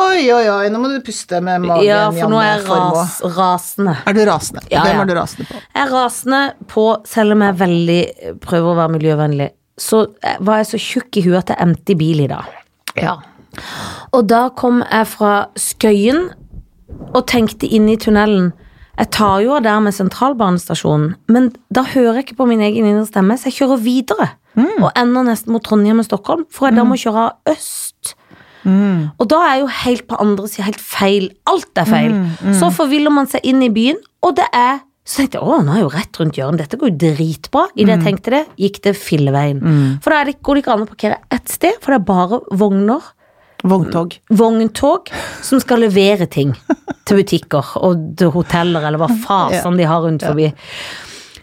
Oi, oi, oi, nå må du puste med magen. Ja, for nå er jeg Janne ras, Formoe. rasende. Er du rasende? Ja, Hvem ja. er du rasende på? Jeg er rasende på, selv om jeg er veldig prøver å være miljøvennlig, så eh, var jeg så tjukk i huet at jeg emte i bil i dag. Ja. Og da kom jeg fra Skøyen og tenkte inne i tunnelen Jeg tar jo av der med sentralbanestasjonen, men da hører jeg ikke på min egen indre stemme, så jeg kjører videre. Og ender nesten mot Trondheim og Stockholm, for jeg da må kjøre av øst. Og da er jeg jo helt på andre siden helt feil. Alt er feil. Så forviller man seg inn i byen, og det er så tenkte jeg, å, nå er jeg jo rett rundt hjørnet, dette går jo dritbra. Idet jeg tenkte det, gikk det filleveien. For da er det, går det ikke an å parkere ett sted, for det er bare vogner Vogntog. vogntog som skal levere ting til butikker og til hoteller, eller hva faen som de har rundt forbi.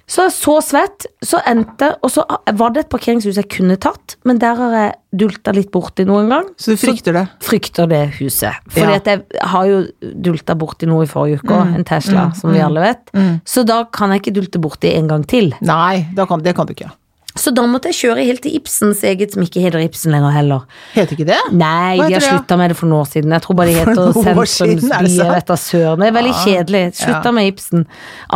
Så jeg er så svett, så endte Og så var det et parkeringshus jeg kunne tatt, men der har jeg dulta litt borti noen gang. Så du frykter det? Frykter det huset. Fordi Ja. at jeg har jo dulta borti noe i forrige uke, en Tesla, som vi alle vet. Så da kan jeg ikke dulte borti en gang til. Nei, da kan, det kan du ikke. Så da måtte jeg kjøre helt til Ibsens eget, som ikke heter Ibsen lenger heller. Heter ikke det? Nei, Hva heter de har det, ja? slutta med det for noen år siden. Jeg tror bare de heter For noen år siden, er det Sentrumsbyer sant? etter søren. Det er veldig kjedelig. Slutta med Ibsen.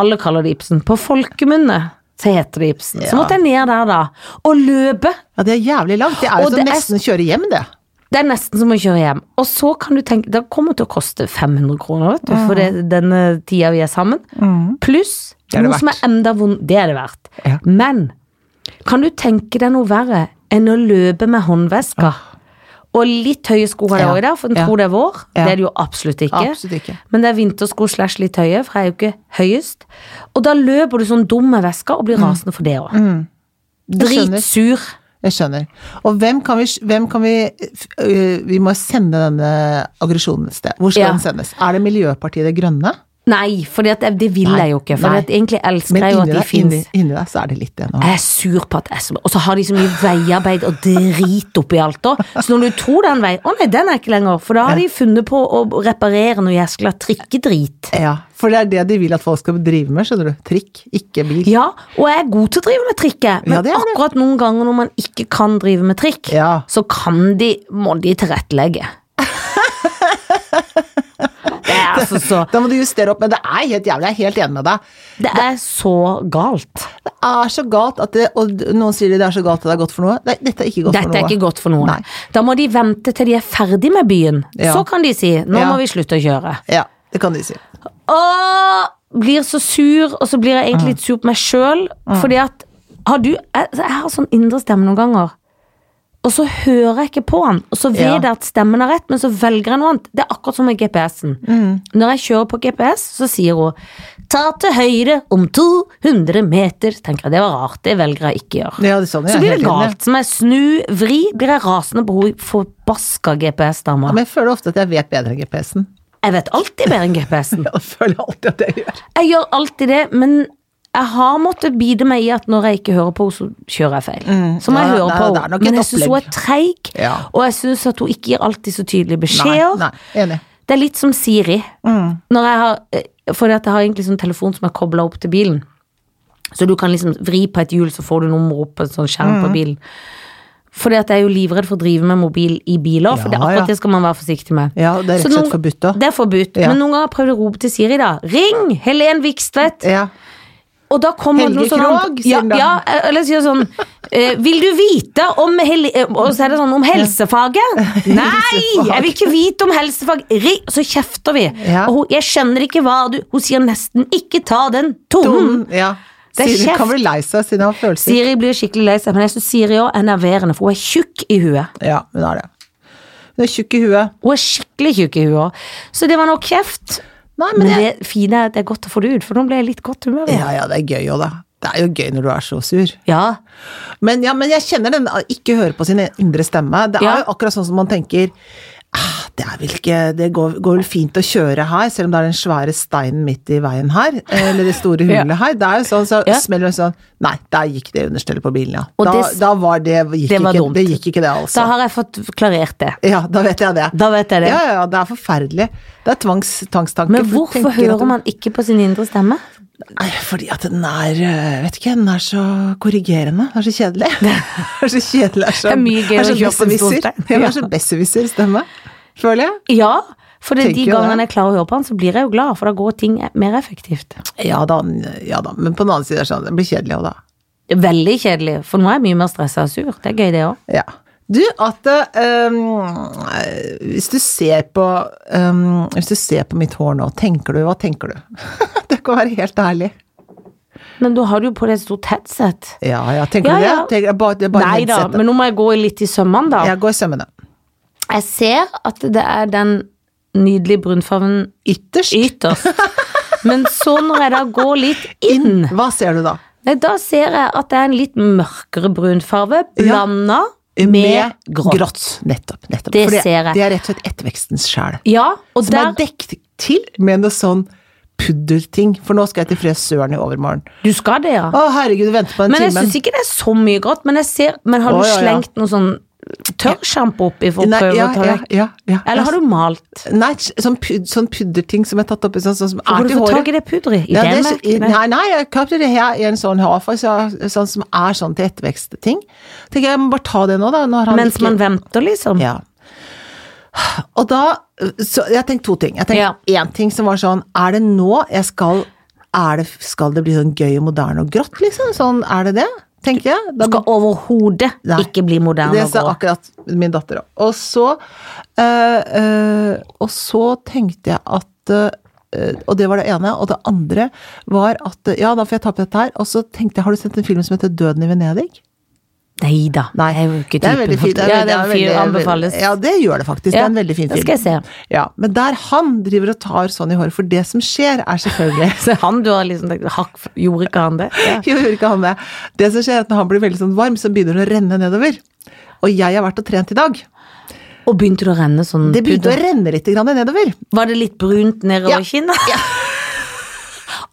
Alle kaller det Ibsen. På folkemunne så heter det Ibsen. Så Ja. måtte jeg ned der, da. Og løpe! Ja, det er jævlig langt. Det er Og jo som det er- nesten å kjøre hjem, det. Det er nesten som å kjøre hjem. Og så kan du tenke Det kommer til å koste 500 kroner, vet du, for det, denne tida vi er sammen. Pluss Mm. Det er det noe som verdt. er enda vond... Det er det verdt. Ja. Men kan du tenke deg noe verre enn å løpe med håndveska? Og litt høye sko har jeg Ah. Ja. også i dag, for en Ja. tror det er vår. Ja. Det er det jo absolutt ikke. Absolutt ikke. Men det er vintersko slash litt høye, for jeg er jo ikke høyest. Og da løper du sånn dum med veska og blir rasende for det òg. Mm. skjønner. Dritsur. Jeg skjønner. Og hvem kan vi, hvem kan vi øh, Vi må sende denne aggresjonen et sted. Hvor skal Ja. den sendes? Er det Miljøpartiet Det Grønne? Nei, for det, det vil Nei, jeg jo ikke. For nei. egentlig elsker Men jeg jo at inni de Eh, deg, inni, fins. inni deg så er det litt det nå. Jeg er sur på at jeg som Og så har de så mye veiarbeid og drit oppi alt òg. Så når du tror den veien Å nei, den er ikke lenger. For da har de funnet på å reparere noe jæskla trikkedrit. Ja, for det er det de vil at folk skal drive med, skjønner du. Trikk, ikke bil. Ja, og jeg er god til å drive med trikket, men Ja, det er du. akkurat noen ganger når man ikke kan drive med trikk, Ja. så kan de, må de tilrettelegge. Det er altså så Da må du justere opp, men det er helt jævlig, jeg er helt enig med deg. Det er så galt. Det er så galt at det, og noen sier det er så galt at det er godt for noe. Nei, dette er ikke godt for Dette noe. er ikke godt for noen. Nei. Da må de vente til de er ferdig med byen. Ja. Så kan de si 'nå Ja. må vi slutte å kjøre'. Ja, det kan de si. Åh, blir så sur, og så blir jeg egentlig litt sur på meg sjøl. Mm. Fordi at har du, jeg, jeg har sånn indre stemme noen ganger. Og så hører jeg ikke på han, og så vet Ja. jeg at stemmen har rett, men så velger jeg noe annet. Det er akkurat som med GPS-en. Mm. Når jeg kjører på GPS, så sier hun 'ta til høyre om 200 meter'. Så tenker jeg det var rart, det velger jeg ikke å gjøre. Ja, det er sånn, jeg Så er blir helt det enig. galt. Som jeg snu, vri, blir jeg rasende på hun forbaska GPS-dama. Men jeg føler ofte at jeg vet bedre enn GPS-en. Jeg vet alltid bedre enn GPS-en. Jeg føler alltid at jeg gjør. Jeg gjør alltid det, men jeg har måttet bite meg i at når jeg ikke hører på henne, så kjører jeg feil. Så må jeg Mm. Ja, høre nei, på det er henne. nok et Men jeg syns hun opplegg. er treig, Ja. og jeg syns at hun ikke gir alltid så tydelige Nei, beskjeder. nei, enig. Det er litt som Siri. Mm. Når jeg har, eh, fordi at jeg har egentlig sånn telefon som er kobla opp til bilen. Så du kan liksom vri på et hjul, så får du nummer opp på en sånn skjerm Mm. på bilen. Fordi at jeg er jo livredd for å drive med mobil i biler, for det er Ja, ja. akkurat det skal man være forsiktig med. Ja, det er rett og Så slett noen- forbudt òg. Det er forbudt. Ja. Men noen ganger har jeg prøvd å rope til Siri, da. Ring Helen Vikstvedt! Ja. Og da kommer Helge det noe sånn Krog, ja, sier den da. ja, eller sier sånn eh, Vil du vite om hel eh, Og så er det sånn om helsefaget? Nei! Jeg vil ikke vite om helsefag! Ri og så kjefter vi. Ja. Og hun, jeg skjønner ikke hva du Hun sier nesten 'ikke ta den tonen'. Ja. Mm. Det er Siden kjeft. kan bli lei seg siden han har følelser. Siri blir skikkelig lei seg, men jeg syns Siri òg er nerverende, for hun er tjukk i huet. Ja, hun er det. Hun er tjukk i huet. Hun er skikkelig tjukk i huet også. Så det var nok kjeft. Nei, men Men det, det fine er at det er godt å få det ut, for nå ble jeg litt godt humør igjen. ja, ja, det er gøy òg, da. Det er jo gøy når du er så sur. Ja. Men, ja, men jeg kjenner den å ikke høre på sin indre stemme. Det er Ja. jo akkurat sånn som man tenker ah, det, er vel ikke, det går, går vel fint å kjøre her, selv om det er den svære steinen midt i veien her. Eller det store Ja. hullet her. Det er jo sånn, så Ja. smeller det sånn Nei, der gikk det understellet på bilen, ja. Og Da, det- da var det gikk det var ikke, dumt. Det gikk ikke det, altså. Da har jeg fått klarert det. Ja, da vet jeg det. Da vet jeg det. Ja, ja, ja, det er forferdelig. Det er tvangs, tvangstanke. Men for du hvorfor tenker at hører den- man ikke på sin indre stemme? Nei, fordi at den er øh, Vet ikke, den er så korrigerende. Den er så kjedelig. Den er så kjedelig. er så- Det er mye gøy er så å kjøre på en stor besserwisser. stein. Ja, Den Ja. er så besserwisser-stemme, føler jeg. Ja, For det er de Tenker jo det. gangene jeg klarer å høre på han, så blir jeg jo glad, for da går ting mer effektivt. Ja da, ja da. Men på den annen side er det sånn, det blir kjedelig òg, da. Det er Veldig kjedelig, for nå er jeg mye mer stressa og sur. Det er gøy, det òg. Ja. Du, at eh, hvis, du ser på, eh, hvis du ser på mitt hår nå, tenker du Hva tenker du? det kan være helt ærlig. Men da har du jo på deg et stort headset. Ja, ja, tenker Ja, du det? ja. Tenker, bare, det er bare Nei da, headsetet. men nå må jeg gå litt i sømmene, da. Jeg går i sømmene. Jeg ser at det er den nydelige brunfargen Ytterst ytterst. Men så når jeg da går litt inn. inn, Hva ser du da? nei, da ser jeg at det er en litt mørkere brunfarge Ja. blanda med grått. Nettopp. nettopp. Det For ser jeg. Det er rett og slett ettervekstens sjel. Ja, og Som der er dekt til med noe sånn pudderting. For nå skal jeg til frisøren i overmorgen. Du skal det, ja. Å, herregud, vente på den Men jeg timen. syns ikke det er så mye grått. Men, jeg ser, men har du Å, ja, ja. slengt noe sånn tørrsjampo oppi for å Nei, prøve ja, å ta ja, vekk? ja, ja. Eller har du malt? Nei, sånn, pud, sånn pudderting som er tatt oppi sånn, sånn som Hvor er har du til fått tak håret. i det pudderet? I Ja, det, Danmark? i- Nei. nei, nei, jeg kapte det her i en sånn hårfall, så- sånn som er sånn til ettervekstting. Tenker jeg, jeg må bare ta det nå, da. Når han Mens ikke- man venter, liksom? Ja. Og da så Jeg tenkte to ting. Jeg tenkte én ting som var sånn Er det nå jeg skal er det, Skal det bli sånn gøy og moderne og grått, liksom? Sånn er det det? Tenker jeg. Da, Du skal overhodet Nei. ikke bli moderne det og sa grå. akkurat min datter òg. Og så eh, eh, Og så tenkte jeg at eh, og det var det ene. Og det andre var at Ja, da får jeg ta på dette her. Og så tenkte jeg, har du sett en film som heter Døden i Venedig? Nei da. Nei, jeg er jo ikke det er typen veldig for- fint. Det er Ja, veldig- det er en det fyr er veldig- anbefales. Ja, det gjør det faktisk. det er Ja, en veldig fin det film. skal jeg se. Ja, men der han driver og tar sånn i håret, for det som skjer er selvfølgelig Så han du har liksom tenkt Hakk, gjorde ikke han det? Ja. Jo, gjorde ikke han det. Det som skjer er at når han blir veldig sånn varm, så begynner det å renne nedover. Og jeg har vært og trent i dag. Og begynte det å renne sånn Det begynte å pudder? renne litt grann nedover. Var det litt brunt nedover Ja. kinnet?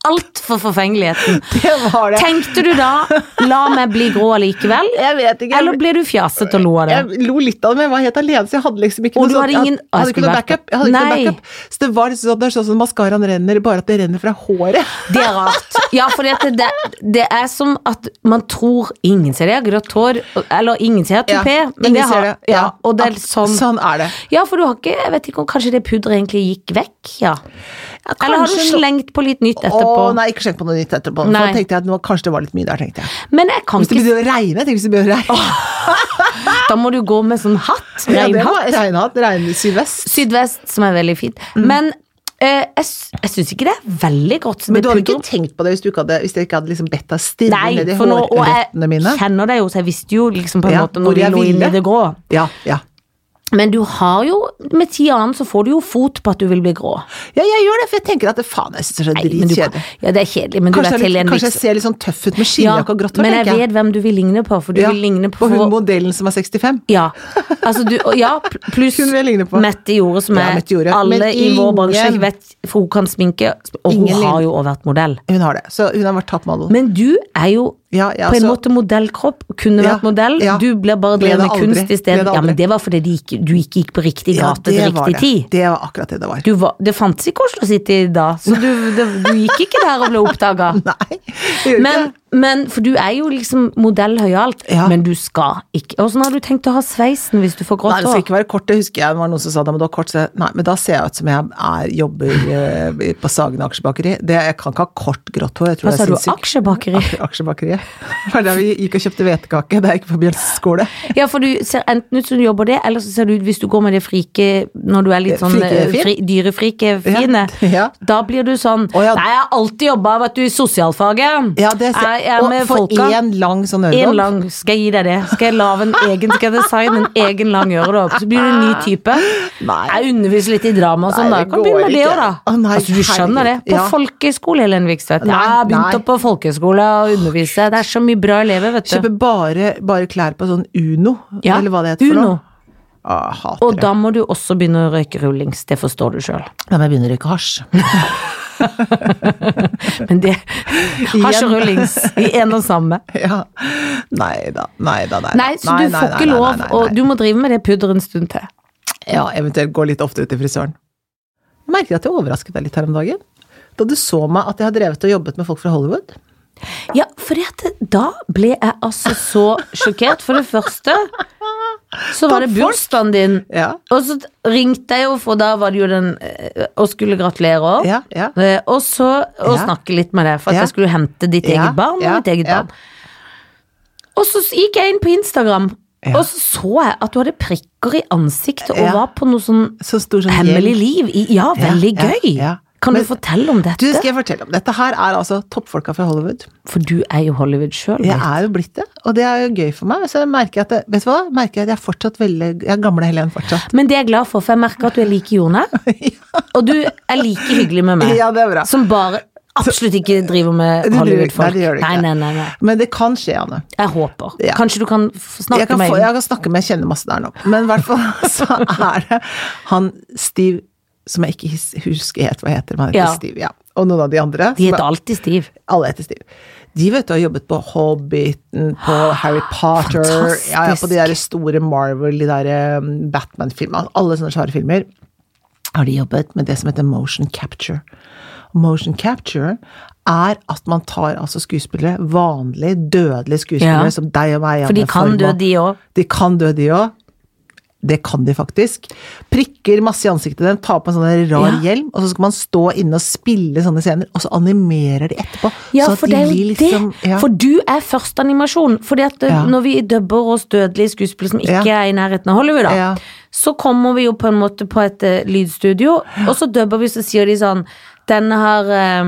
Alt for forfengeligheten. Det var det. Tenkte du da 'la meg bli grå allikevel'? Jeg vet ikke. Eller ble du fjaset og lo av det? Jeg lo litt av det, men jeg var helt alene, så jeg hadde liksom ikke Og noe du sånn- hadde jeg ingen- hadde ikke noe Å, jeg skulle vært- backup. Jeg hadde ikke noe Nei. backup. Så det var liksom sånn, det er sånn som maskaraen renner, bare at det renner fra håret. Det er rart. Ja, for det, det, det er som at man tror ingen ser det. Jeg har grått hår, eller ingen ser at du per. men ingen det har, ser det. Ja, og det er At- sånn Sånn er det. Ja, for du har ikke Jeg vet ikke om kanskje det pudderet egentlig gikk vekk, ja. Eller har du kanskje no- slengt på litt nytt Å, etterpå? nei, ikke skjenk på noe nytt etterpå. For Nei. da tenkte jeg at nå, kanskje det var litt mye der, tenkte jeg. Men jeg kan Hvis det ikke begynner å regne, tenk hvis det begynner å regne. Da må du gå med sånn hatt. Ja, det var- Reinhatt. Regnhatt, regn sydvest. Sydvest, som er veldig fint. Mm. Men eh, jeg, s- jeg syns ikke det er veldig grått. som Men det du hadde ikke pudderet. tenkt på det hvis, du ikke hadde, hvis jeg ikke hadde liksom bedt deg stirre Nei, ned i for nå, og hårrøttene mine? jeg kjenner deg jo, så jeg visste jo liksom på en Ja, måte hvor når vi jeg lå inn ville. i det grå. Ja, ja. Men du har jo, med tida annen så får du jo fot på at du vil bli grå. Ja, jeg gjør det, for jeg tenker at det- faen, jeg syns det er så Nei, men du, dritkjedelig. ja, det er kjedelig, men Kanskje, du jeg, vet er litt- Helene kanskje jeg Vik- ser litt sånn tøff ut med Ja, skinnjakke og grått hår, Men jeg tenker jeg. vet hvem du vil ligne på, for du Ja, vil ligne på og hun modellen som er 65. Ja, altså du, og ja pl- pluss Hun vil jeg ligne på. Mette Jorde, som Ja, er Mette Jorde. alle Men i vår bransje ingen- vet, for hun kan sminke, og hun Ingen lign- har jo også vært modell. Hun har det, så hun har vært toppmodell. Men du er jo Ja, ja, på en så- måte modellkropp, kunne Ja, vært modell. ja. Du ble bare Ble det drevet med aldri. kunst i Ble stedet. det Ja, men aldri. det var fordi de ikke, du ikke gikk på riktig gate til var riktig det. tid. Det var akkurat det det var. Du var, det fantes ikke Oslo City da, så du, det, du gikk ikke der og ble oppdaga. Nei, det gjør Men, ikke det. men, for du er jo liksom modell høyalt, Ja. men du skal ikke. Åssen har du tenkt å ha sveisen hvis du Nei, får grått det skal hår? ikke være kort, det husker jeg det var noen som sa da, men du har kort, så jeg- nei, men da ser jeg ut som jeg er, jobber eh, på Sagen aksjebakeri. Det, jeg kan ikke ha kort grått hår, jeg tror Hva det sa er du, sinnssykt. aksjebakeri? Ak- Aksjebakeriet. Det var der vi gikk og kjøpte hvetekake da jeg gikk på Bjørns skole. Ja, for du ser enten ut som du jobber det, eller så ser du ut hvis du går med det frike når du er litt sånn eh, Frikefin? fri, dyrefrike-fine. Ja, ja. Da blir du sånn Å, ja. Nei, jeg har alltid jobba vet du, i sosialfaget. Ja, det ser jeg er Og med for folka. én lang sånn En øredobb. lang, skal jeg gi deg det? Skal jeg lage en egen, skal jeg designe en egen lang øredobb? Så blir du en ny type. Nei. Jeg underviser litt i drama og sånn, da. Nei, det Jeg kan begynne går med det ikke. òg, da. Å, nei, altså, du skjønner det. herregud. På Ja. folkeskole, Helen Vikstvedt. Ja, Nei, jeg begynte nei. på folkeskole og undervise. Det er så mye bra elever, vet du. Kjøper bare, bare klær på sånn Uno, Ja, eller hva det heter for Uno. noe. Ah, hater Og det. da må du også begynne å røyke rullings, det forstår du sjøl. Da må jeg begynne å røyke hasj. Men det har ikke rullings i en og samme. Ja. Nei da, nei da, nei da. Nei, så du nei, får nei, ikke nei, lov, nei, nei, og nei. du må drive med det pudderet en stund til. Ja, eventuelt gå litt oftere til frisøren. Jeg merker at jeg overrasket deg litt her om dagen. Da du så meg at jeg har drevet og jobbet med folk fra Hollywood. Ja, for da ble jeg altså så sjokkert. For det første Så var det Toppfolk. bursdagen din. Ja. Og så ringte jeg jo, for da var det jo den eh, Og skulle gratulere òg. Ja, ja. Eh, Og så og Ja. snakke litt med deg, for at Ja. jeg skulle hente ditt Ja, eget barn og ja, mitt eget ja. barn. Og så gikk jeg inn på Instagram, Ja. og så så jeg at du hadde prikker i ansiktet og Ja. var på noe sånn Så stor som hemmelig gjeld. liv. I, ja, Ja, veldig ja, gøy. ja. Kan Men- du fortelle om dette? Du, skal jeg fortelle om Dette her er altså toppfolka fra Hollywood. For du er jo Hollywood sjøl. Jeg er jo blitt det, og det er jo gøy for meg. Så jeg merker at det, vet du hva? Merker jeg at jeg er fortsatt veldig Jeg er gamle Helen fortsatt. Men det er jeg glad for, for jeg merker at du er like jordnær. Og du er like hyggelig med meg. Ja, det er bra. Som bare absolutt ikke driver med Du driver- Nei, Hollywood-folk. det gjør du ikke. Nei, nei, nei, nei. Men det kan skje, Anne. Jeg håper. Ja. Kanskje du kan f- Jeg snakke kan, med få, henne. jeg kan snakke med jeg kjenner masse der nå. Men i hvert fall så er det han Steve som jeg ikke his- husker helt hva heter, men han heter Ja. Steve, ja. Og noen av de andre. De som heter alltid Stiv. Alle heter Steve. De vet du har jobbet på Hobbiten, på Harry Potter Fantastisk. ja, ja, På de der store Marvel, de der um, Batman-filmene. Alle sånne svære filmer. Har de jobbet med det som heter motion capture. Motion capture er at man tar altså skuespillere, vanlige, dødelige skuespillere Ja. som deg og meg. For de Janne kan Formoe. dø, de òg. De kan dø, de òg. Det kan de faktisk. Prikker masse i ansiktet dem, tar på en sånn rar Ja. hjelm, og så skal man stå inne og spille sånne scener, og så animerer de etterpå. Ja, sånn at for de det er jo blir det. liksom- ja. For du er førsteanimasjon. Fordi at det, Ja. når vi dubber oss dødelige skuespillere som ikke Ja. er i nærheten av Hollywood, da, Ja. så kommer vi jo på en måte på et eh, lydstudio, og så dubber vi, så sier de sånn Denne har eh,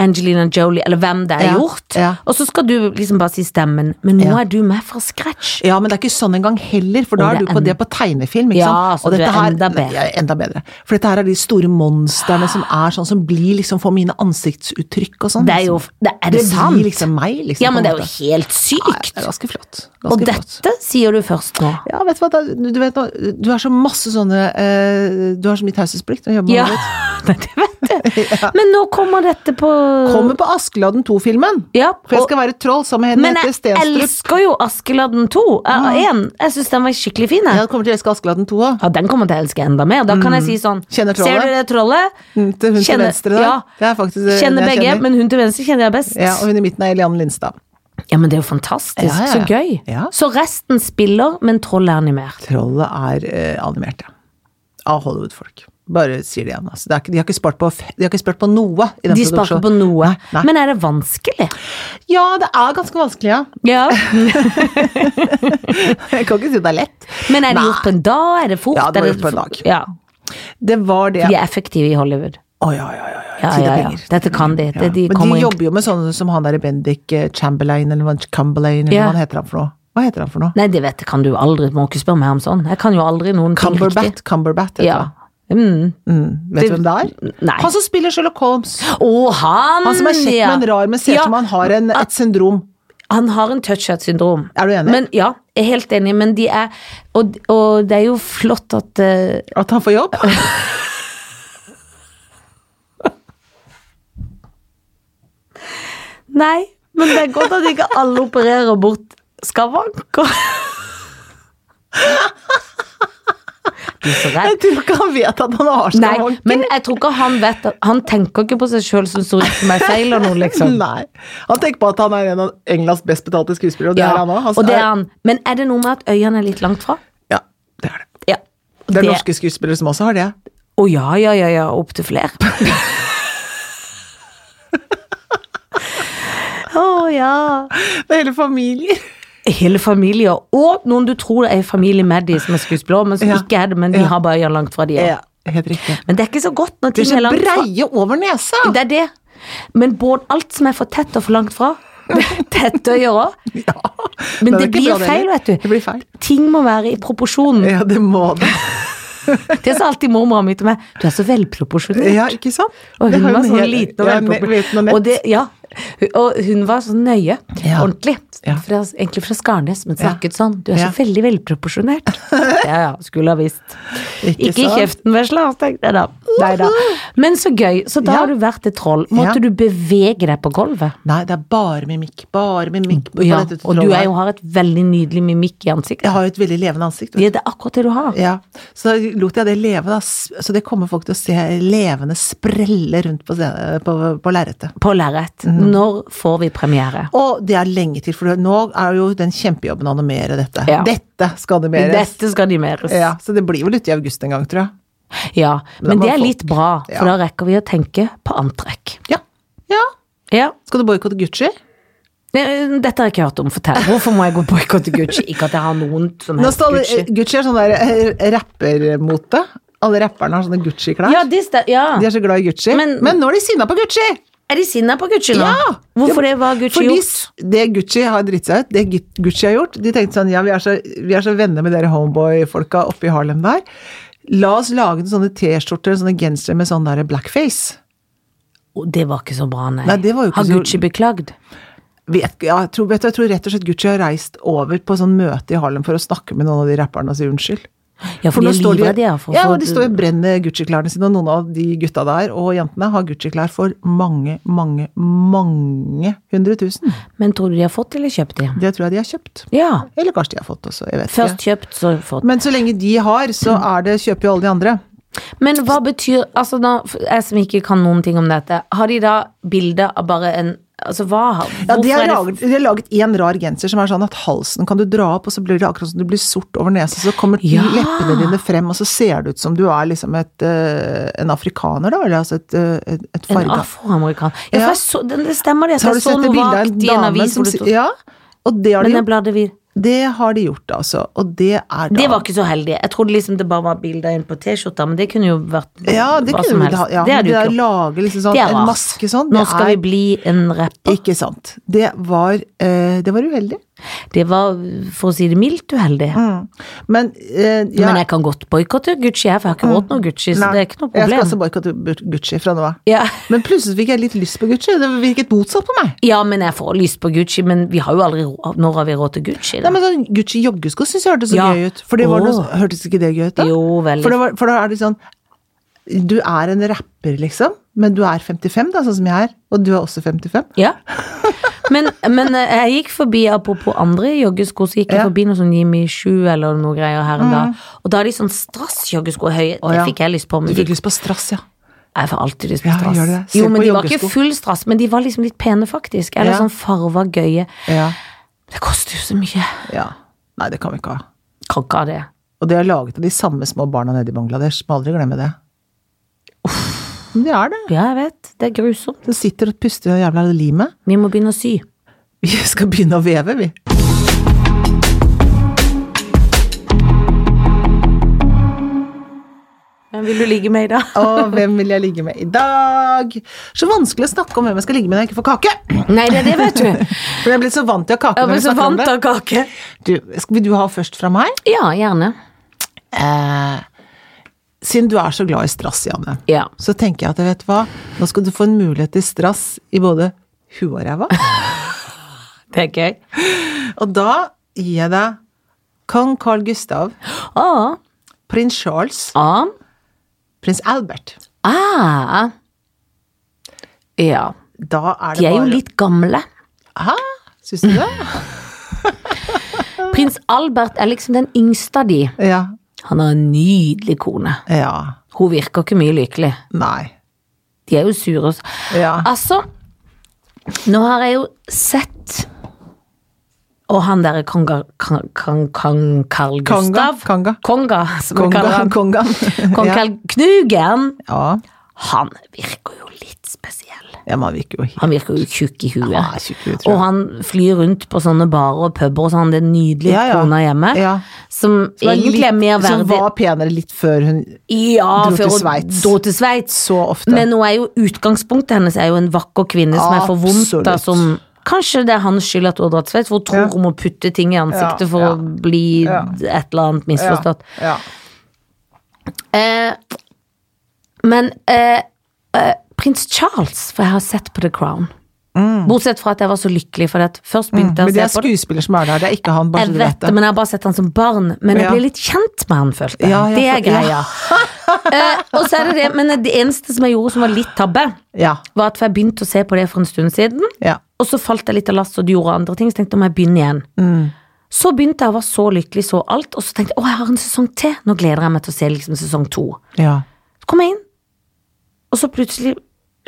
Angelina Jolie, eller hvem det er Ja, gjort. ja. Og så skal du liksom bare si stemmen. Men nå Ja. er du med fra scratch. Ja, men det er ikke sånn engang heller, for da Og er det du på er det på tegnefilm, ikke Ja, sant? så du er enda bedre. Ja, enda bedre. For dette her er de store monstrene som er sånn, som blir liksom for mine ansiktsuttrykk og sånn. Det er jo det, Er det, det sant? blir liksom meg, liksom. på ja, en men det er jo måte. helt Ja, ja, det sykt. er ganske flott. Ganske Og flott. dette sier du først nå. Ja, vet du hva, da, du, vet, nå, du er så masse sånne eh, Du har så mye taushetsplikt når du jobber med Ja, Hollywood. Nei, det vet jeg. Men nå kommer dette på Kommer på Askeladden 2-filmen. Ja, For jeg og- skal være troll sammen med Men Henriette jeg Stenstrup. elsker jo Askeladden 2. eh, Mm. en. Jeg syns den var skikkelig fin. jeg. Jeg kommer til å elske Askeladden 2 òg. Ja, den kommer jeg til å elske enda mer. Da kan jeg si sånn Mm. Kjenner trollet? Ser du det trollet? Hun til Kjenner- venstre der. ja. Det er faktisk eh, Kjenner den jeg begge, kjenner. men hun til venstre kjenner jeg best. Ja, og hun i midten er Eliane Lindstad. Ja, men det er jo fantastisk. Ja, ja, ja. Så gøy. Ja. Så resten spiller, men trollet er animert. Trollet er eh, animert, ja. Av Hollywood-folk. Bare sier det igjen. Altså. Det er ikke, de, har ikke spart på, f- de har ikke spart på noe i den De sparker produksjonen. på noe. Nei. Men er det vanskelig? Ja, det er ganske vanskelig, ja. Ja. Jeg kan ikke si det er lett. Men er det Nei. gjort på en dag? Er det fort? Ja, det var Er gjort på en dag. Ja. Det var det. De er effektive i Hollywood. Å ja, ja, ja. ja. Ja, Tid og ja, ja. penger. Dette kan de. Ja. Det, de Men kommer de inn. jobber jo med sånne som han der Bendik eh, Chamberlain, eller hva- Cumberlain, eller Ja. hva han heter han for noe? Hva heter han for noe? Nei, det vet jeg kan du aldri. Må ikke spørre meg om sånn. Jeg kan jo aldri noen ting riktig. Cumberbat, Cumberbat heter Ja. han. Mm. Vet du hvem det er? Nei. Han som spiller Sherlock Holmes. Å, han! Han som er kjekk, ja. men rar, men ser ut Ja, som han har en, et syndrom. Han har en touchhead-syndrom. Er du enig? Men, ja, jeg er helt enig, men de er Og, og det er jo flott at eh, At han får jobb? Nei, men det er godt at ikke alle opererer bort skavanker. Du er så redd. Jeg tror ikke han vet at han har Nei, skavanker. men jeg tror ikke han vet at Han tenker ikke på seg sjøl som så ut som jeg feiler noe, liksom. Nei. Han tenker på at han er en av Englands best betalte skuespillere, og det Ja, er han òg. og det er han. Men er det noe med at øyene er litt langt fra? Ja, det er det. Ja. Det er norske skuespillere som også har det. Å ja, ja, ja, ja. Opptil flere. Å ja. Det er hele familier. Hele familier, og noen du tror er i familie med de som er skuespillere, men som Ja. ikke er det, men de Ja. har bare øynene langt fra de også. Ja, helt riktig. Men det er ikke så godt når Det er ting er så langt fra. breie over nesa! Det er det. Men både alt som er for tett og for langt fra, tette øyer òg. Ja. Men Den er det ikke blir bra, det feil, heller. vet du. Det blir feil. Ting må være i proporsjon. Ja, det må det. Det sa alltid mormora mi til meg. Du er så velproporsjonert. Ja, ikke sant? Og Det hun har var hun sånn helt- liten og ja, ne- liten og velproporsjonert. nett. Og, det- ja. Hun- og hun var så nøye. Ja. Ordentlig. Ja. Fra, egentlig fra Skarnes, men Ja. snakket sånn. Du er Ja. så veldig velproporsjonert. Ja ja, skulle ha visst. Ikke i sant? kjeften, vesla, tenkte jeg da. Neida. Men så gøy. Så da Ja. har du vært et troll. Måtte Ja. du bevege deg på gulvet? Nei, det er bare mimikk. Bare mimikk. på Ja, dette og du trollet er her. jo har et veldig nydelig mimikk i ansiktet. Jeg har jo et veldig levende ansikt. vet Ja, det er akkurat det du har. Ja, så lot jeg det leve, da. Så det kommer folk til å se levende sprelle rundt på, scenen- på, på lerretet. På lerret. Mhm. Når får vi premiere? Og det er lenge til, for nå er jo den kjempejobben å animere dette. Ja. Dette skal animeres. Dette skal animeres. Ja, så det blir vel ute i august en gang, tror jeg. Ja, Da men må det er folk- litt bra, Ja. for da rekker vi å tenke på antrekk. Ja. ja. Ja. Skal du boikotte Gucci? Eh, Dette har jeg ikke hørt om. Fortell. Hvorfor må jeg gå boikotte Gucci? Ikke at jeg har noen som Nå helst står det, Gucci. Gucci er sånn der eh, rappermote. Alle rapperne har sånne Gucci-klær. Ja, det stem- ja. eh, De er så glad i Gucci. Men, Men- nå er de sinna på Gucci! Er de sinna på Gucci nå? Ja! Hvorfor det var Gucci Fordi gjort? s- det Gucci har dritt seg ut, det Gu- Gucci har gjort De tenkte sånn, ja, vi er så, vi er så venner med dere homeboy-folka oppe i Harlem der. La oss lage noen sånne T-skjorter og sånne gensere med sånn der blackface. Å, Det var ikke så bra, nei. Nei, det var jo ikke har så- Gucci beklagd? Vet, ikke, ja, jeg, tror, vet du, jeg tror rett og slett Gucci har reist over på sånn møte i Harlem for å snakke med noen av de rapperne og si unnskyld. Ja, for de nå er står livredde, ja. For, ja, for, og de står og brenner Gucci-klærne sine, og noen av de gutta der og jentene har Gucci-klær for mange, mange, mange hundre tusen. Men tror du de har fått eller kjøpt de? Det tror jeg de har kjøpt. Ja. Eller kanskje de har fått også, jeg vet ikke. Først kjøpt, så fått. Men så lenge de har, så er det, kjøper jo alle de andre. Men hva betyr Altså, da, jeg som ikke kan noen ting om dette, har de da bilde av bare en Altså, hva har Ja, de har, hvorfor er det- laget, de har laget en rar genser som er sånn at halsen kan du dra opp, og så blir det akkurat som du blir sort over nesa, så kommer Ja. leppene dine frem, og så ser det ut som du er liksom et, eh, en afrikaner, da, eller altså et, eh, et, et En farga. afroamerikaner. Ja, for Ja. jeg så, det, det stemmer det. at Så har jeg du så sett det noe bildet av en vagt i en dame avis som hvor det sitter stod Ja, og det har de Men jeg gjort. bladde vid. Det har de gjort, altså. Og det er da Det var ikke så heldig. Jeg trodde liksom det bare var bilder inn på T-skjorta, men det kunne jo vært Ja, det hva kunne som vi helst. ha. Ja, det men er det det jo der ikke. lage liksom sånn, det er en rart. maske sånn, Nå det skal er vi bli en rapper. ikke sant. Det var, eh, det var uheldig. Det var, for å si det mildt, uheldig. Mm. Men eh, jeg- Men jeg kan godt boikotte Gucci, jeg, for jeg har ikke råd noe Gucci, så Mm. Nei, det er ikke noe Jeg skal problem. også boikotte Bu- Gucci fra nå av. Ja. Men plutselig fikk jeg litt lyst på Gucci. Det virket motsatt på meg. ja, men jeg får lyst på Gucci, men vi har jo aldri råd Når har vi råd til Gucci? Nei, Da? men sånn Gucci joggesko syns jeg hørtes så Ja. gøy ut. For det var noe, Åh. hørtes ikke det gøy ut da? Jo, veldig. For, det var, for da er det sånn Du er en rapper, liksom, men du er 55, da, sånn som jeg er. Og du er også 55. Ja. Men, men eh, jeg gikk forbi, apropos andre joggesko, så gikk jeg Ja. Mm. forbi noe sånn Jimmy Choo eller noe greier her en dag. Og da har de sånn strass-joggesko høye. Å, ja. Det fikk jeg lyst på, Du men de, fikk lyst på strass, ja. jeg får alltid lyst på Ja, strass. gjør det. Se jo, på men de var joggesko. ikke full strass, men de var liksom litt pene, faktisk. Eller Ja. sånn farva gøye. ja. Det koster jo så mye. Ja. Nei, det kan vi ikke ha. Kan ikke ha det. Og det er laget av de samme små barna nede i Bangladesh. Må aldri glemme det. Men det er det. Ja, jeg vet. Det er grusomt. Det sitter og puster i det jævla limet. Vi må begynne å sy. Vi skal begynne å veve, vi. Hvem vil du ligge med i dag? Og hvem vil jeg ligge med i dag? Så vanskelig å snakke om hvem jeg skal ligge med når jeg ikke får kake! Nei, det er det, vet du. For jeg blir så vant til å ha kake Jeg når ble vi så snakker om vant det. av kake. Du, skal, vil du ha først fra meg? Ja, gjerne. Eh, siden du er så glad i strass, Janne, Ja. så tenker jeg at vet du hva, nå skal du få en mulighet til strass i både huet og ræva. Det er gøy. Og da gir jeg deg kong Carl Gustav, Ah. prins Charles, Ah. prins Albert. Ah. Ja. Da er det De er jo bare litt gamle. Hæ? Syns du det? Prins Albert er liksom den yngste av de. ja. Han har en nydelig kone. Ja. Hun virker ikke mye lykkelig. Nei. De er jo sure. også. Ja. Altså, nå har jeg jo sett Og han derre konga Kong, kong, kong Carl Konga, Gustav. konga. Konga, som vi kaller Konga, han. kongan. Kong ja. Carl Knugen. ja. Han virker jo litt spesiell. Ja, man virker jo helt Han virker jo tjukk i huet. Han er tjukk i huet, tror jeg. og han flyr rundt på sånne barer og puber og sånn, det nydelige Ja, ja. kona hjemme. Ja. Som var egentlig er litt- mer verdig. Som var penere litt før hun ja, dro til for å Sveits. Dro til Sveits. så ofte Men hun er jo, utgangspunktet hennes er jo en vakker kvinne som er for vondt Absolutt. av som Kanskje det er hans skyld at hun har dratt til Sveits, for hun tror Ja. hun må putte ting i ansiktet Ja, for ja. å bli Ja. et eller annet misforstått. Ja. Eh, men eh, eh, prins Charles, for jeg har sett på The Crown. Bortsett fra at jeg var så lykkelig, for at først Ja. begynte Mm. Men det jeg er å se på det. skuespiller som er der, det er ikke han, bare Jeg så du vet vet det, det. men jeg har bare sett han som barn. Men jeg Ja. ble litt kjent med han, følte jeg. Ja, ja, det er for- greia. ja. Eh, og så er det det, men det eneste som jeg gjorde som var litt tabbe, Ja. var at for jeg begynte å se på det for en stund siden, ja. og så falt jeg litt av lasset og det gjorde andre ting, så tenkte jeg om jeg begynner igjen. Mm. Så begynte jeg å være så lykkelig, så alt, og så tenkte jeg å, jeg har en sesong til, nå gleder jeg meg til å se liksom sesong to. ja. Så kom jeg inn, og så plutselig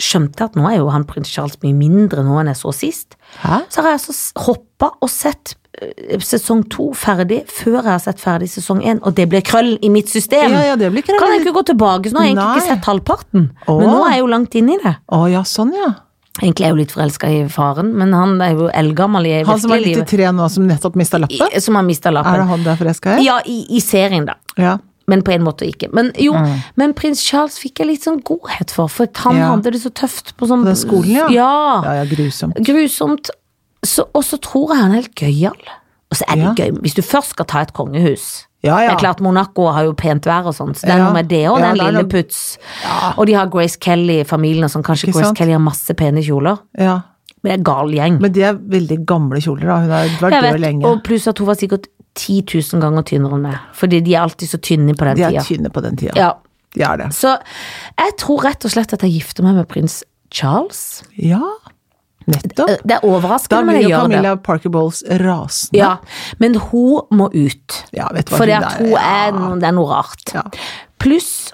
skjønte jeg at nå er jo han prins Charles mye mindre nå enn jeg så sist. Hæ? Så har jeg altså hoppa og sett eh, sesong to ferdig før jeg har sett ferdig sesong én, og det ble krøll i mitt system. Ja, ja, det blir Kan jeg krevende. ikke gå tilbake, så nå har jeg egentlig ikke Nei. sett halvparten. Åh. Men nå er jeg jo langt inn i det. Å ja, sånn ja. Egentlig er jeg jo litt forelska i faren, men han er jo eldgammel i Han som er virkelig livet. 93 nå, som nettopp mista lappen? I- Som har mista Er det lappen. han der forelska i? Ja, i, i serien, da. Ja. Men på en måte ikke. Men jo, Mm. men prins Charles fikk jeg litt sånn godhet for, for han Ja. hadde det så tøft på sånn På den skolen, ja. ja. Ja, ja, grusomt. Grusomt. Så, og så tror jeg han er helt gøyal. Og så er det Ja. gøy hvis du først skal ta et kongehus. Ja, Det ja. er klart Monaco har jo pent vær og sånt, så det er Ja. noe med det og Ja, den det er lille noe- puts. Og de har Grace Kelly i familien og sånn, kanskje Ikke Grace sant? Kelly har masse pene kjoler. Ja. Men det er gal gjeng. Men de er veldig gamle kjoler, da. Hun har vært Jeg død vet, lenge. og pluss at hun var sikkert 10 000 ganger tynnere enn meg, fordi de er alltid så tynne på den De er tida. tynne på den tida. Ja. De er det. Så jeg tror rett og slett at jeg gifter meg med prins Charles. Ja, Eh, nettopp. Det Da er overraskende, men blir jeg jo gjør det. Camilla Parker Bowles rasende. Ja, men hun må ut. Ja, vet du hva Fordi hun at er, hun ja. er, no- det er noe rart. Ja. Pluss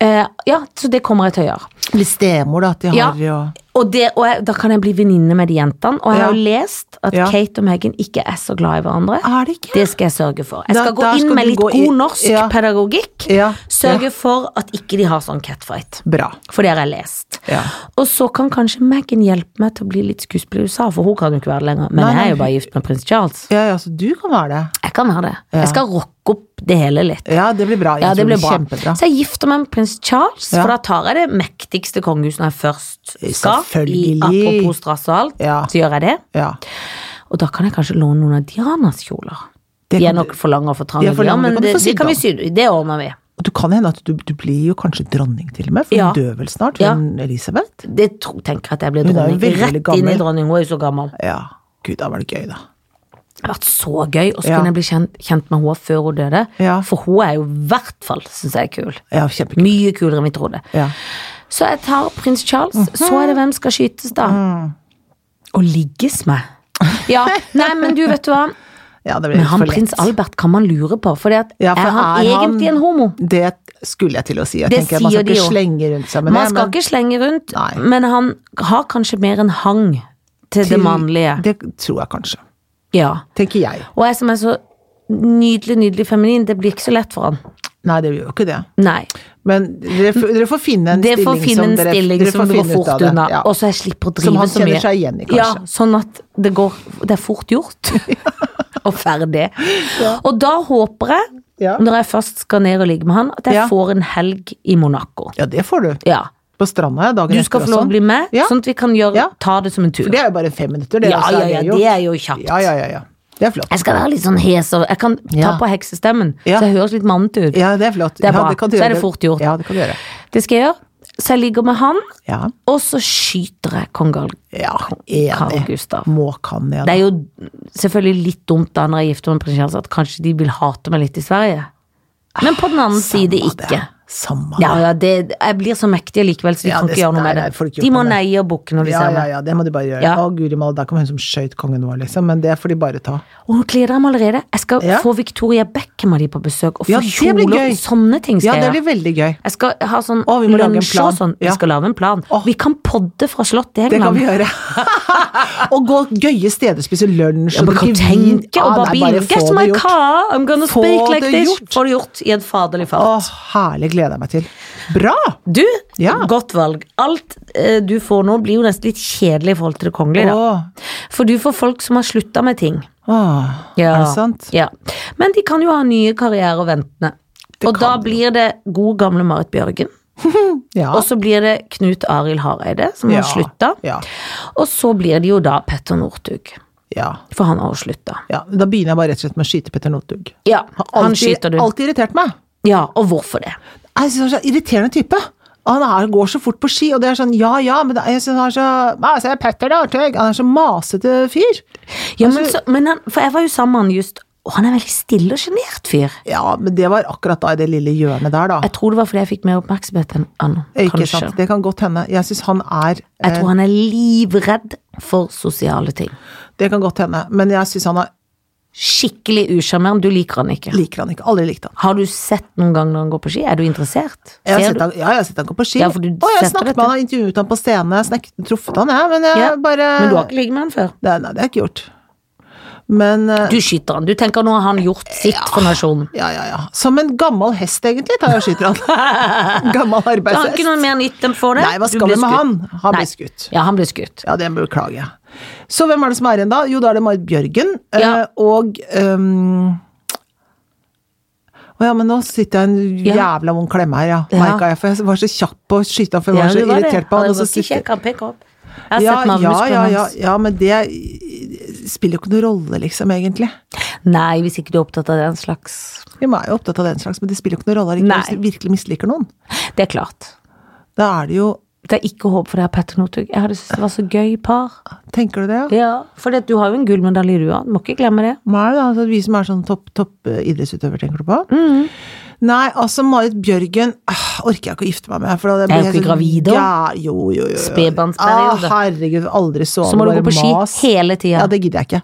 eh, Ja, så det kommer jeg til å gjøre. Blir stemor, da, at de Ja. har jo Og, det, og jeg, da kan jeg bli venninne med de jentene. Og jeg har jo lest at Ja. Kate og Meghan ikke er så glad i hverandre. Er det ikke? Det skal jeg sørge for. Jeg Da- skal gå der inn skal med du litt gå i- god norsk Ja. pedagogikk. Ja. Sørge for at ikke de har sånn catfight. Bra. For det har jeg lest. Ja. Og så kan kanskje Meghan hjelpe meg til å bli litt skuespiller i USA, for hun kan jo ikke være det lenger. Men Nei, jeg er jo nei. bare gift med prins Charles. Ja, ja, så du kan være det. Jeg kan være det. Ja. Jeg skal rocke opp det hele litt. Ja, det blir bra. Jeg Ja, det tror blir bra. Kjempebra. Så jeg gifter meg med prins Charles, Ja. for da tar jeg det mektigste kongehuset når jeg først skal. I Selvfølgelig. apropos strass og alt, Ja. så gjør jeg det. Ja. Og da kan jeg kanskje låne noen av Dianas kjoler. Det De er kan nok for lange og for trange, Ja, for ja, lange men kan du det, få sydd det kan da. vi sy. Det ordner vi. Og du kan hende at du, du blir jo kanskje dronning til og med, for Ja. hun dør vel snart, Ja. hun Elisabeth? Det tror, tenker jeg at jeg blir Hun er jo dronning. veldig, veldig Rett inn i gammel. dronning, hun er jo så gammel. Ja. Gud, da var det gøy, da. Det har vært så gøy, og så Ja. kunne jeg bli kjent, kjent med henne før hun døde. Ja. For hun er jo i hvert fall, syns jeg, er kul. Ja, kjempekult. Mye kulere enn vi trodde. Ja. Mhm. Så jeg tar prins Charles, så er det hvem skal skytes da. Mm. Og ligges med. Ja, nei, men du vet du hva. ja, det ble Men litt han for lett. prins Albert kan man lure på, for Ja, for er han er han- egentlig en homo? Det skulle jeg til å si. Jeg Det tenker at Man skal sier de ikke jo. slenge rundt seg med Man det. skal men ikke slenge rundt, Nei. men han har kanskje mer en hang til, det til- mannlige. Det tror jeg kanskje. Ja. Tenker jeg. Og jeg som er så nydelig, nydelig feminin, det blir ikke så lett for han. Nei, det gjør jo ikke det. Nei. Men dere, f- dere får finne en Det stilling får finne en dere, stilling dere som får går finne ut av fort det. unna, Ja. og så jeg slipper å drive så Som mye. han kjenner seg igjen i, kanskje. Ja, sånn at det går Det er fort gjort. og ferdig. Og da håper jeg, Ja. når jeg først skal ned og ligge med han, at jeg Ja. får en helg i Monaco. ja, det får du. Ja. På stranda ja, dagen Du skal etter få lov å bli med, Ja. sånn at vi kan gjøre, Ja. ta det som en tur. Det er jo bare fem minutter, det. ja, altså, ja, ja, jo- det er jo kjapt. Ja, ja, ja, ja. Det er flott. Jeg skal være litt sånn hes og Jeg kan ta Ja. på heksestemmen, Ja. så jeg høres litt mannete ut. Ja, det er flott. Det ja, er bra. kan du Så er gjøre. det fort gjort. Ja, det kan du gjøre. Det skal jeg gjøre. Så jeg ligger med han, Ja, og så skyter jeg kong Gal- ja Carl enig. Gustav. Må kan igjen. Det er jo selvfølgelig litt dumt da når jeg gifter meg med prins Charles at kanskje de vil hate meg litt i Sverige. Men på Ah, den annen side ikke. Samme Ja, ja, det, jeg blir så mektig likevel, så de Ah. Ja, kan det- ikke gjøre noe nei, med nei, får det. ikke gjort De må noe med neie og bukke når de Ja, ser ja, meg. ja, det må de bare gjøre. Ja. Å, guri malla, der kom hun som skøyt kongen vår, liksom. Men det får de bare ta. Og nå gleder jeg meg allerede. Jeg skal Ja. få Victoria Beckham av de på besøk, og få Ja, det blir kjoler gøy. og sånne ting Ja, skal det jeg blir gjøre. veldig gøy. Jeg skal ha sånn Å, vi må lage en lunsj og plan. sånn. Vi Ja. skal lage en plan. Å. Vi kan podde fra Slottet i Det kan vi England. gjøre. og gå gøye steder, spise lunsj Ja, men kan drikke vin. tenke og Ah, bare nei, bli Get få my det gjort. car, I'm gonna Få speak like det this. gjort. Få det gjort i en faderlig fart. Å, herlig. Gleder jeg meg til. Bra! Du, Ja. godt valg. Alt eh, du får nå blir jo nesten litt kjedelig i forhold til det kongelige. Å, Da. For du får folk som har slutta med ting. å, Ah, er det sant? Ja. Men de kan jo ha nye karrierer ventende. Det og kan da de blir det god gamle Marit Bjørgen. Ja. Og så blir det Knut Arild Hareide, som Ja. har slutta. Ja. Og så blir det jo da Petter Northug, ja. for han har jo slutta. ja. Da begynner jeg bare rett og slett med å skyte Petter Northug. Ja, han Alltid- skyter du. Alltid irritert meg. Ja, og hvorfor det? Jeg synes han er så irriterende type. Han er, går så fort på ski, og det er sånn ja ja, men det er, jeg synes han er så «Ja, se Petter Northug. Han er så masete fyr. Ja, Altså- men så, men han, for jeg var jo sammen med han just, Og han er en veldig stille og sjenert fyr. Ja, men det var akkurat da i det lille hjørnet der, da. Jeg tror det var fordi jeg fikk mer oppmerksomhet enn han. Ikke Kanskje. sant? Det kan godt hende. Jeg syns han er Jeg tror han er livredd for sosiale ting. Det kan godt hende, men jeg syns han er Skikkelig usjarmerende. Du liker han ikke. Liker han ikke. Aldri likte han. Har du sett noen gang når han går på ski? Er du interessert? Jeg har Ser sett du? han, ja, jeg har sett han gå på ski. Ja, og for du jeg har setter snakket dette. med han, intervjuet han på scene, snek, truffet han, jeg, men jeg Ja, bare Men du har ikke ligget med han før? det, Nei, det har jeg ikke gjort. Men eh, Du skyter han. Du tenker nå har han gjort sitt for nasjonen. Ja, ja, ja. Som en gammel hest, egentlig, tar jeg og skyter han. gammel Du har ikke arbeidshest. noe mer nytt enn for det? Nei, hva Du skal blir vi med skutt. han? Han Nei. blir skutt. Ja, han ble skutt. Ja, det beklager jeg. Så hvem er det som er igjen da? Jo, da er det Marit Bjørgen. eh, Ja. Og ehm, Å ja, men nå sitter jeg i en Ja. jævla vond klemme her, ja. Ja. Merka jeg, for jeg var så kjapp på å skyte han, for jeg var så du var det. irritert på Han han. er og så ganske sitter- kjekk, han peker opp. Jeg har ja, sett ja, magemusklene ja, ja, hans. ja, men det spiller jo ikke noen rolle, liksom, egentlig. Nei, hvis ikke du er opptatt av den slags Vi er jo opptatt av den slags, men det spiller jo ikke noen rolle Nei. hvis du virkelig misliker noen. Det er klart. Da er det jo Det er ikke håp for deg, Petter Northug. Jeg hadde syntes det var så gøy par. Tenker du det, ja? Ja, For du har jo en gullmedalje, du òg. Må ikke glemme det. Nei, da, altså, vi som er sånn topp topp, eh, idrettsutøver, tenker du på? Mm. Nei, altså Marit Bjørgen ah, orker jeg ikke å gifte meg med. For da Er hun blir ikke jeg så- gravid også? Ja, jo, jo, jo. jo. Spedbarnsperiode. Ah, herregud, aldri sove, Så må du bare gå på ski mas. hele tida. Ja, det gidder jeg ikke.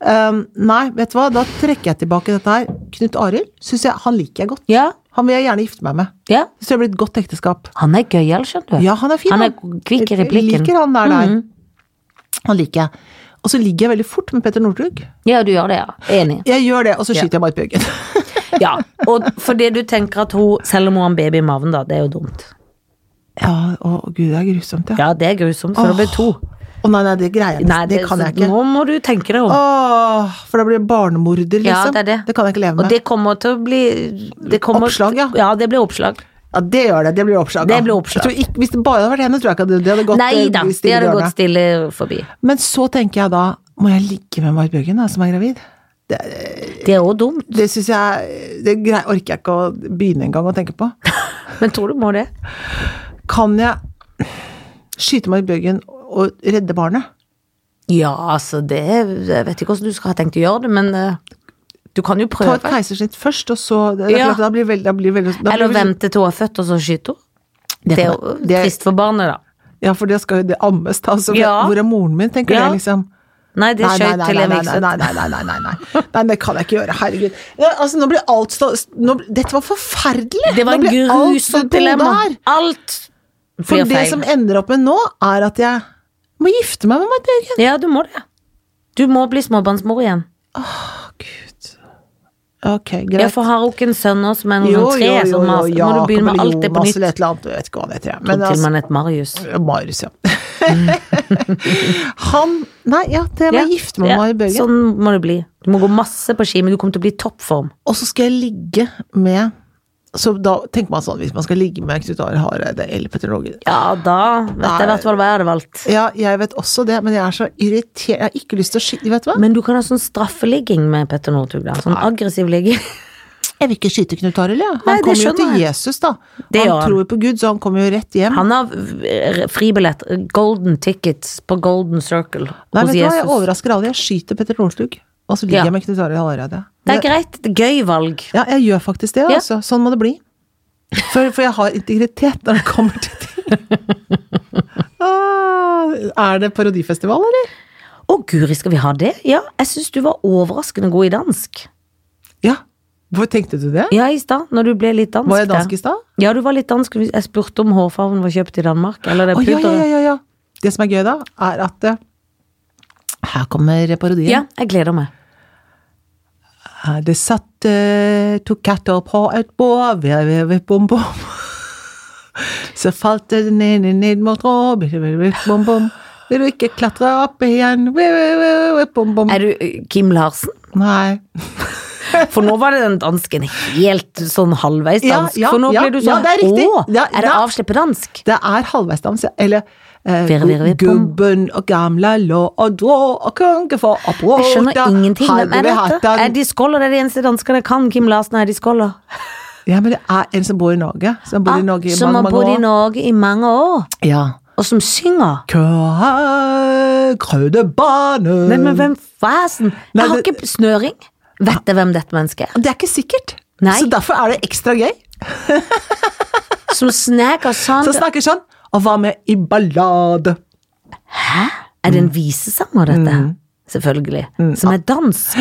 Um, nei, vet du hva, da trekker jeg tilbake dette her. Knut Arild, synes jeg, han liker jeg godt. Ja, Han vil jeg gjerne gifte meg med. ja. Så det blir et godt ekteskap. Han er gøyal, skjønner du. Mhm. Ja, han er fin, han er kvikk i Jeg replikken. Mm. liker han der, der. Han liker jeg. Og så ligger jeg veldig fort med Petter Northug. Ja, du gjør det, ja. Enig. Jeg gjør det, og så skyter jeg Marit Bjørgen. Ja, Og fordi du tenker at hun, selv om hun har en baby i maven, da, det er jo dumt. Ja, å gud, det er grusomt, ja. Ja, det er grusomt, for det blir to. Å nei, nei, det greier jeg nesten. Nei, det, kan så jeg ikke. Nå må du tenke deg om. Åh, for da blir jeg barnemorder, liksom. Ja, det er det. kan jeg ikke leve Og med. det kommer til å bli det kommer, Oppslag, ja. Ja, det blir oppslag. ja, det gjør det. Det blir oppslag. ja. Det blir oppslag. Jeg tror ikke, hvis det bare hadde vært henne, tror jeg ikke det, det hadde gått Nei eh, da, stille de hadde dørene. gått stille forbi. Men så tenker jeg da, må jeg ligge med Marit Bjørgen, da, som er gravid? Det er jo dumt, Det syns jeg Det grei, orker jeg ikke å begynne engang å tenke på. men tror du må det? Kan jeg skyte Marit Bjørgen og redde barnet? Ja, altså det Jeg vet ikke hvordan du skal ha tenkt å gjøre det, men eh, du kan jo Ta et prøve. keisersnitt først, og så det, det er Ja. klart, Da blir veldig, da blir veldig da blir Eller veldig- vente til hun er født, og så skyte henne. Det Det er kan jo jeg- det er- trist for barnet, da. Ja, for det skal jo det ammes, da. Så Ja. hvor er moren min, tenker Ja. jeg liksom. Nei, det Nei, nei, skjøt nei, til nei, en nei, nei, vikset. nei, nei, nei, nei, nei. Nei, det kan jeg ikke gjøre, herregud. Ja, altså, nå blir alt stå... Nå, dette var forferdelig! Det Nå var en blir alt stått på grusomt hodet dilemma. her. Alt For blir det som feil. ender opp med nå, er at jeg må gifte meg med Marit Bjørgen. Ja, du må det. Du må bli småbarnsmor igjen. Å, gud. Ok, Ja, greit. for har hun ikke en sønn nå som er noen sånn tre? som har- Nå må du begynne med alt det på nytt. Eller et eller annet, jeg vet ikke hva det heter. jeg. Men Kom til altså, man et Marius. Marius, ja. Han Nei, ja, det må Ja, jeg gifte meg med ja, Marit Bjørgen. Sånn må det bli. Du må gå masse på ski, men du kommer til å bli i toppform. Og så skal jeg ligge med Så da tenker man sånn, hvis man skal ligge med Knut Arild Hareide eller Petter Norge Ja, da vet jeg i hvert fall hva jeg hadde valgt. Ja, jeg vet også det, men jeg er så irritert Jeg har ikke lyst til å skyte Vet du hva? Men du kan ha sånn straffeligging med Petter Northug. da. Sånn aggressiv ligging. Jeg vil ikke skyte Knut Arild, jeg. Han Nei, det kommer jo skjønner til jeg. Jesus, da. Det han gjør han. tror jo på Gud, så han kommer jo rett hjem. Han har eh, fribillett, golden tickets på Golden Circle Nei, hos vet du hva, jeg Jesus. overrasker aldri. Jeg skyter Petter Northug, og så ligger Ja. jeg med Knut Arild Hareide. Det er greit. Det er Gøy valg. Ja, jeg gjør faktisk det, Ja. altså. Sånn må det bli. For, for jeg har integritet når det kommer til ting. Ah, er det parodifestival, eller? Å, guri, skal vi ha det? Ja, jeg syns du var overraskende god i dansk. Ja. Hvor tenkte du det? Ja, i stad, når du ble litt dansk. Var jeg der. dansk i stad? Ja, du var litt dansk. Jeg spurte om hårfargen var kjøpt i Danmark. Eller det Å, ja, ja, pudderet. ja, ja, ja. Det som er gøy, da, er at eh, Her kommer parodien. ja, jeg gleder meg. Eh, Det satt eh, to katter på et bord, ved, ved, ved, bom, bom. Så falt det ned, ned, ned mot rå, ved, ved, ved, bom, bom. Vil du ikke klatre opp igjen, ved, ved, ved, ved, bom, bom. Er du eh, Kim Larsen? Nei. For nå var det den dansken helt sånn halvveis dansk. Ja, ja, for nå ja, ble ja, du sånn det er riktig. Å, Ja, er det ja. avslippedansk? Det er halvveisdans, ja. Eller eh, Virre, virre, virre, bom. Gubben og gamle lå og drå og konge for å bråte. Jeg skjønner ingenting. Hvem er Hadde vi hatt dette? den- Er de skoller? Det er de eneste danskene jeg kan. Kim Larsen er de skoller. Ja, men det er en som bor i Norge. Som bor i Norge i Ah, som mange, har bodd i mange år. Norge i mange år, Ja. og som synger. Kø- Krødebane Nei, men hvem fasen? Nei, Jeg har det- ikke snøring. Vet jeg hvem dette mennesket er? Det er ikke sikkert. Nei. Så derfor er det ekstra gøy. Som sneker sånn Så snakker sånn Og hva med i ballade? Hæ? Er det en visesanger, dette? Mm. Selvfølgelig. Som er dansk.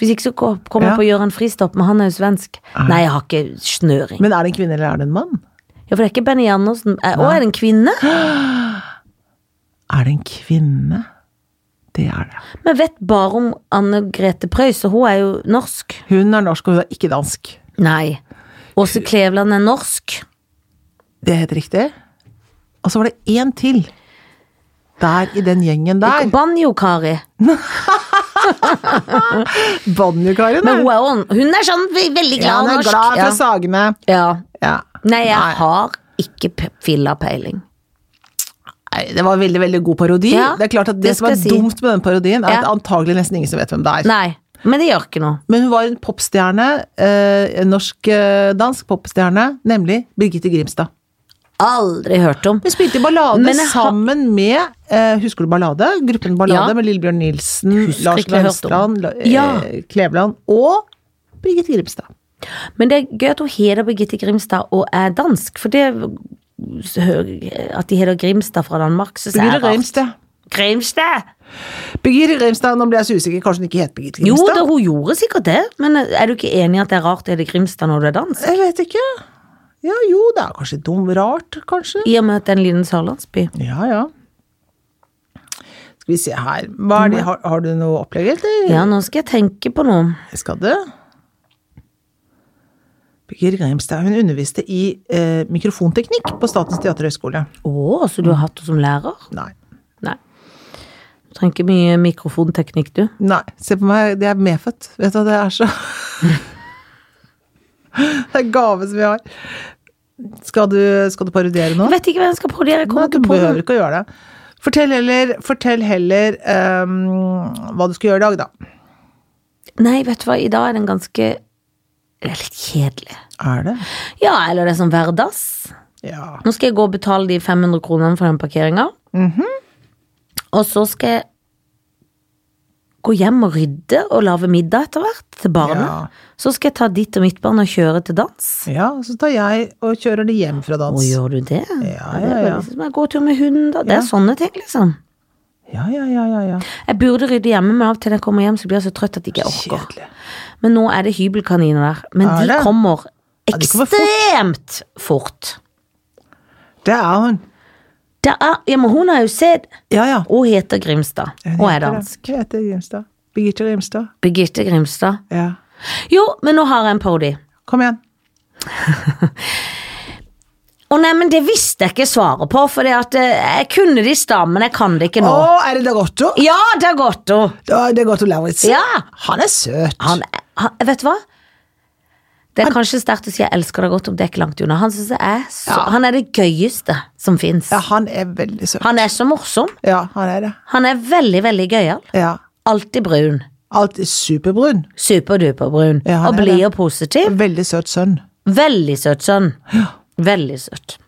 Hvis ikke så ko- kommer Ja. jeg Ah. på Gøran Fristopp, men han er jo svensk. Nei, jeg har ikke snøring. Men er det en kvinne eller er det en mann? Ja, for det er ikke Benny Andersen. Eh, Å, er det en kvinne? Er det en kvinne? Det er det. Men vet bare om Anne Grete Preus, og hun er jo norsk. Hun er norsk, og hun er ikke dansk. Nei. Åse Kleveland er norsk. Det er helt riktig. Og så var det én til. Der i den gjengen der. Banjo-Kari. Banjo-Karin. Men ja. hun er, jo- hun er sånn ve- Ja, veldig glad hun er norsk. glad ja. fra Sagene. ja. Ja. Nei, jeg Nei. har ikke p- filla peiling. Nei, det var veldig veldig god parodi. Ja, det er klart at Det, det som skal er jeg si. dumt med den parodien, er at Ja. antagelig nesten ingen som vet hvem det er. Nei, men det gjør ikke noe. Men hun var en popstjerne, eh, norsk-dansk popstjerne, nemlig Birgitte Grimstad. Aldri hørt om. Hun spilte i ballade Men jeg har- sammen med eh, Husker du Ballade? Gruppen Ballade Ja. med Lillebjørn Nilsen, Husker Lars ikke å ha hørt om. Kveldsland, La- eh, Ja. Kleveland og Birgitte Grimstad. Men det er gøy at hun heter Birgitte Grimstad og er dansk, for det eh, At de heter Grimstad fra Danmark, syns jeg Birgitte er rart. Grimstad. Grimstad! Birgitte Grimstad, Nå ble jeg så usikker, kanskje hun ikke het Birgitte Jo, Grimstad? da, hun gjorde sikkert det, men er du ikke enig i at det er rart det heter Grimstad når du er dansk? Jeg vet ikke. Ja jo, det er kanskje dum rart, kanskje. I og med at det er en liten sørlandsby. Ja, ja. Skal vi se her. Hva er det? Har, har du noe opplegg, eller? Ja, nå skal jeg tenke på noe. Skal du? Birger Grimstad hun underviste i eh, mikrofonteknikk på Statens teaterhøgskole. Å, så du har hatt henne som lærer? Nei. Nei. Du trenger ikke mye mikrofonteknikk, du. Nei. Se på meg, det er medfødt. Vet du hva det er så Det er gave som vi har. Skal du, skal du parodiere nå? Jeg vet ikke hvem jeg skal parodiere. Jeg Nei, kommer du ikke på behøver noe. ikke å gjøre det. Fortell heller, fortell heller ehm, hva du skal gjøre i dag, da. Nei, vet du hva, i dag er den ganske Det er litt kjedelig. Er det? Ja, eller det er sånn hverdags. Ja. Nå skal jeg gå og betale de 500 kronene for den parkeringa. Mhm. Og så skal jeg gå hjem og rydde og lage middag etter hvert til barnet. Ja. Så skal jeg ta ditt og mitt barn og kjøre til dans. Ja, så tar jeg og kjører det hjem fra Og dans. gjør du det? Ja, det ja, er vel ja. liksom en god tur med hunden, da. Det er Ja. sånne ting, liksom. Ja, ja, ja, ja. ja. Jeg burde rydde hjemme, men av og til når jeg kommer hjem, så blir jeg så trøtt at jeg ikke orker. Kjedelig. Men nå er det hybelkaniner der. Men Er de det? kommer de kommer fort. ekstremt fort. Det er hun. Det er, ja, men hun har jo sett Ja, ja. Hun heter Grimstad, og er dansk. Jeg heter Grimstad. Birgitte Grimstad. Birgitte Grimstad. Ja. Jo, men nå har jeg en parodi. Kom igjen. Å nei, men det visste jeg ikke svaret på, for jeg kunne det i stad, men jeg kan det ikke Å, nå. er det Dagotto? Ja, det er godt, å. Ja, det er Dagotto Lauritz. Ja. Han er søt. Han, han, vet du hva? Det er kanskje sterkt å si jeg elsker deg godt, om det er ikke langt unna. Han synes jeg er så, Ja. han er det gøyeste som fins. Ja, han er veldig søt. Han er så morsom. Ja, han er det. Han er veldig, veldig gøyal. Ja. Alltid brun. Alt er superbrun. Superduperbrun. Ja, han og er blid det. og positiv. Veldig søt sønn. Veldig søt sønn. Veldig søt.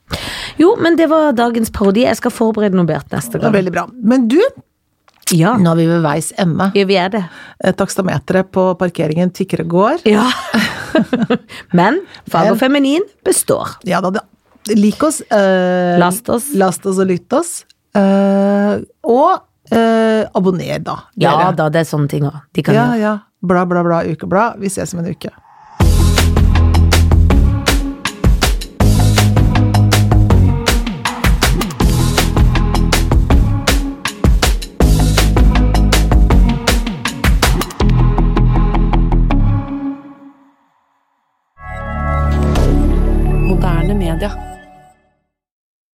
Jo, men det var dagens parodi. Jeg skal forberede noe bedre neste Det er gang. Veldig bra. Men du, Ja, nå er vi ved veis ende. ja vi er det. Eh, Takstameteret på parkeringen tikker og går. Ja. Men fag og feminin består. Ja da, da. Lik oss. eh, Last oss. Last oss og lytt oss. Eh, og eh, abonner, da. Ja dere. da, det er sånne ting òg. De kan Ja, gjøre. ja. Bla, bla, bla, ukeblad. Vi ses om en uke.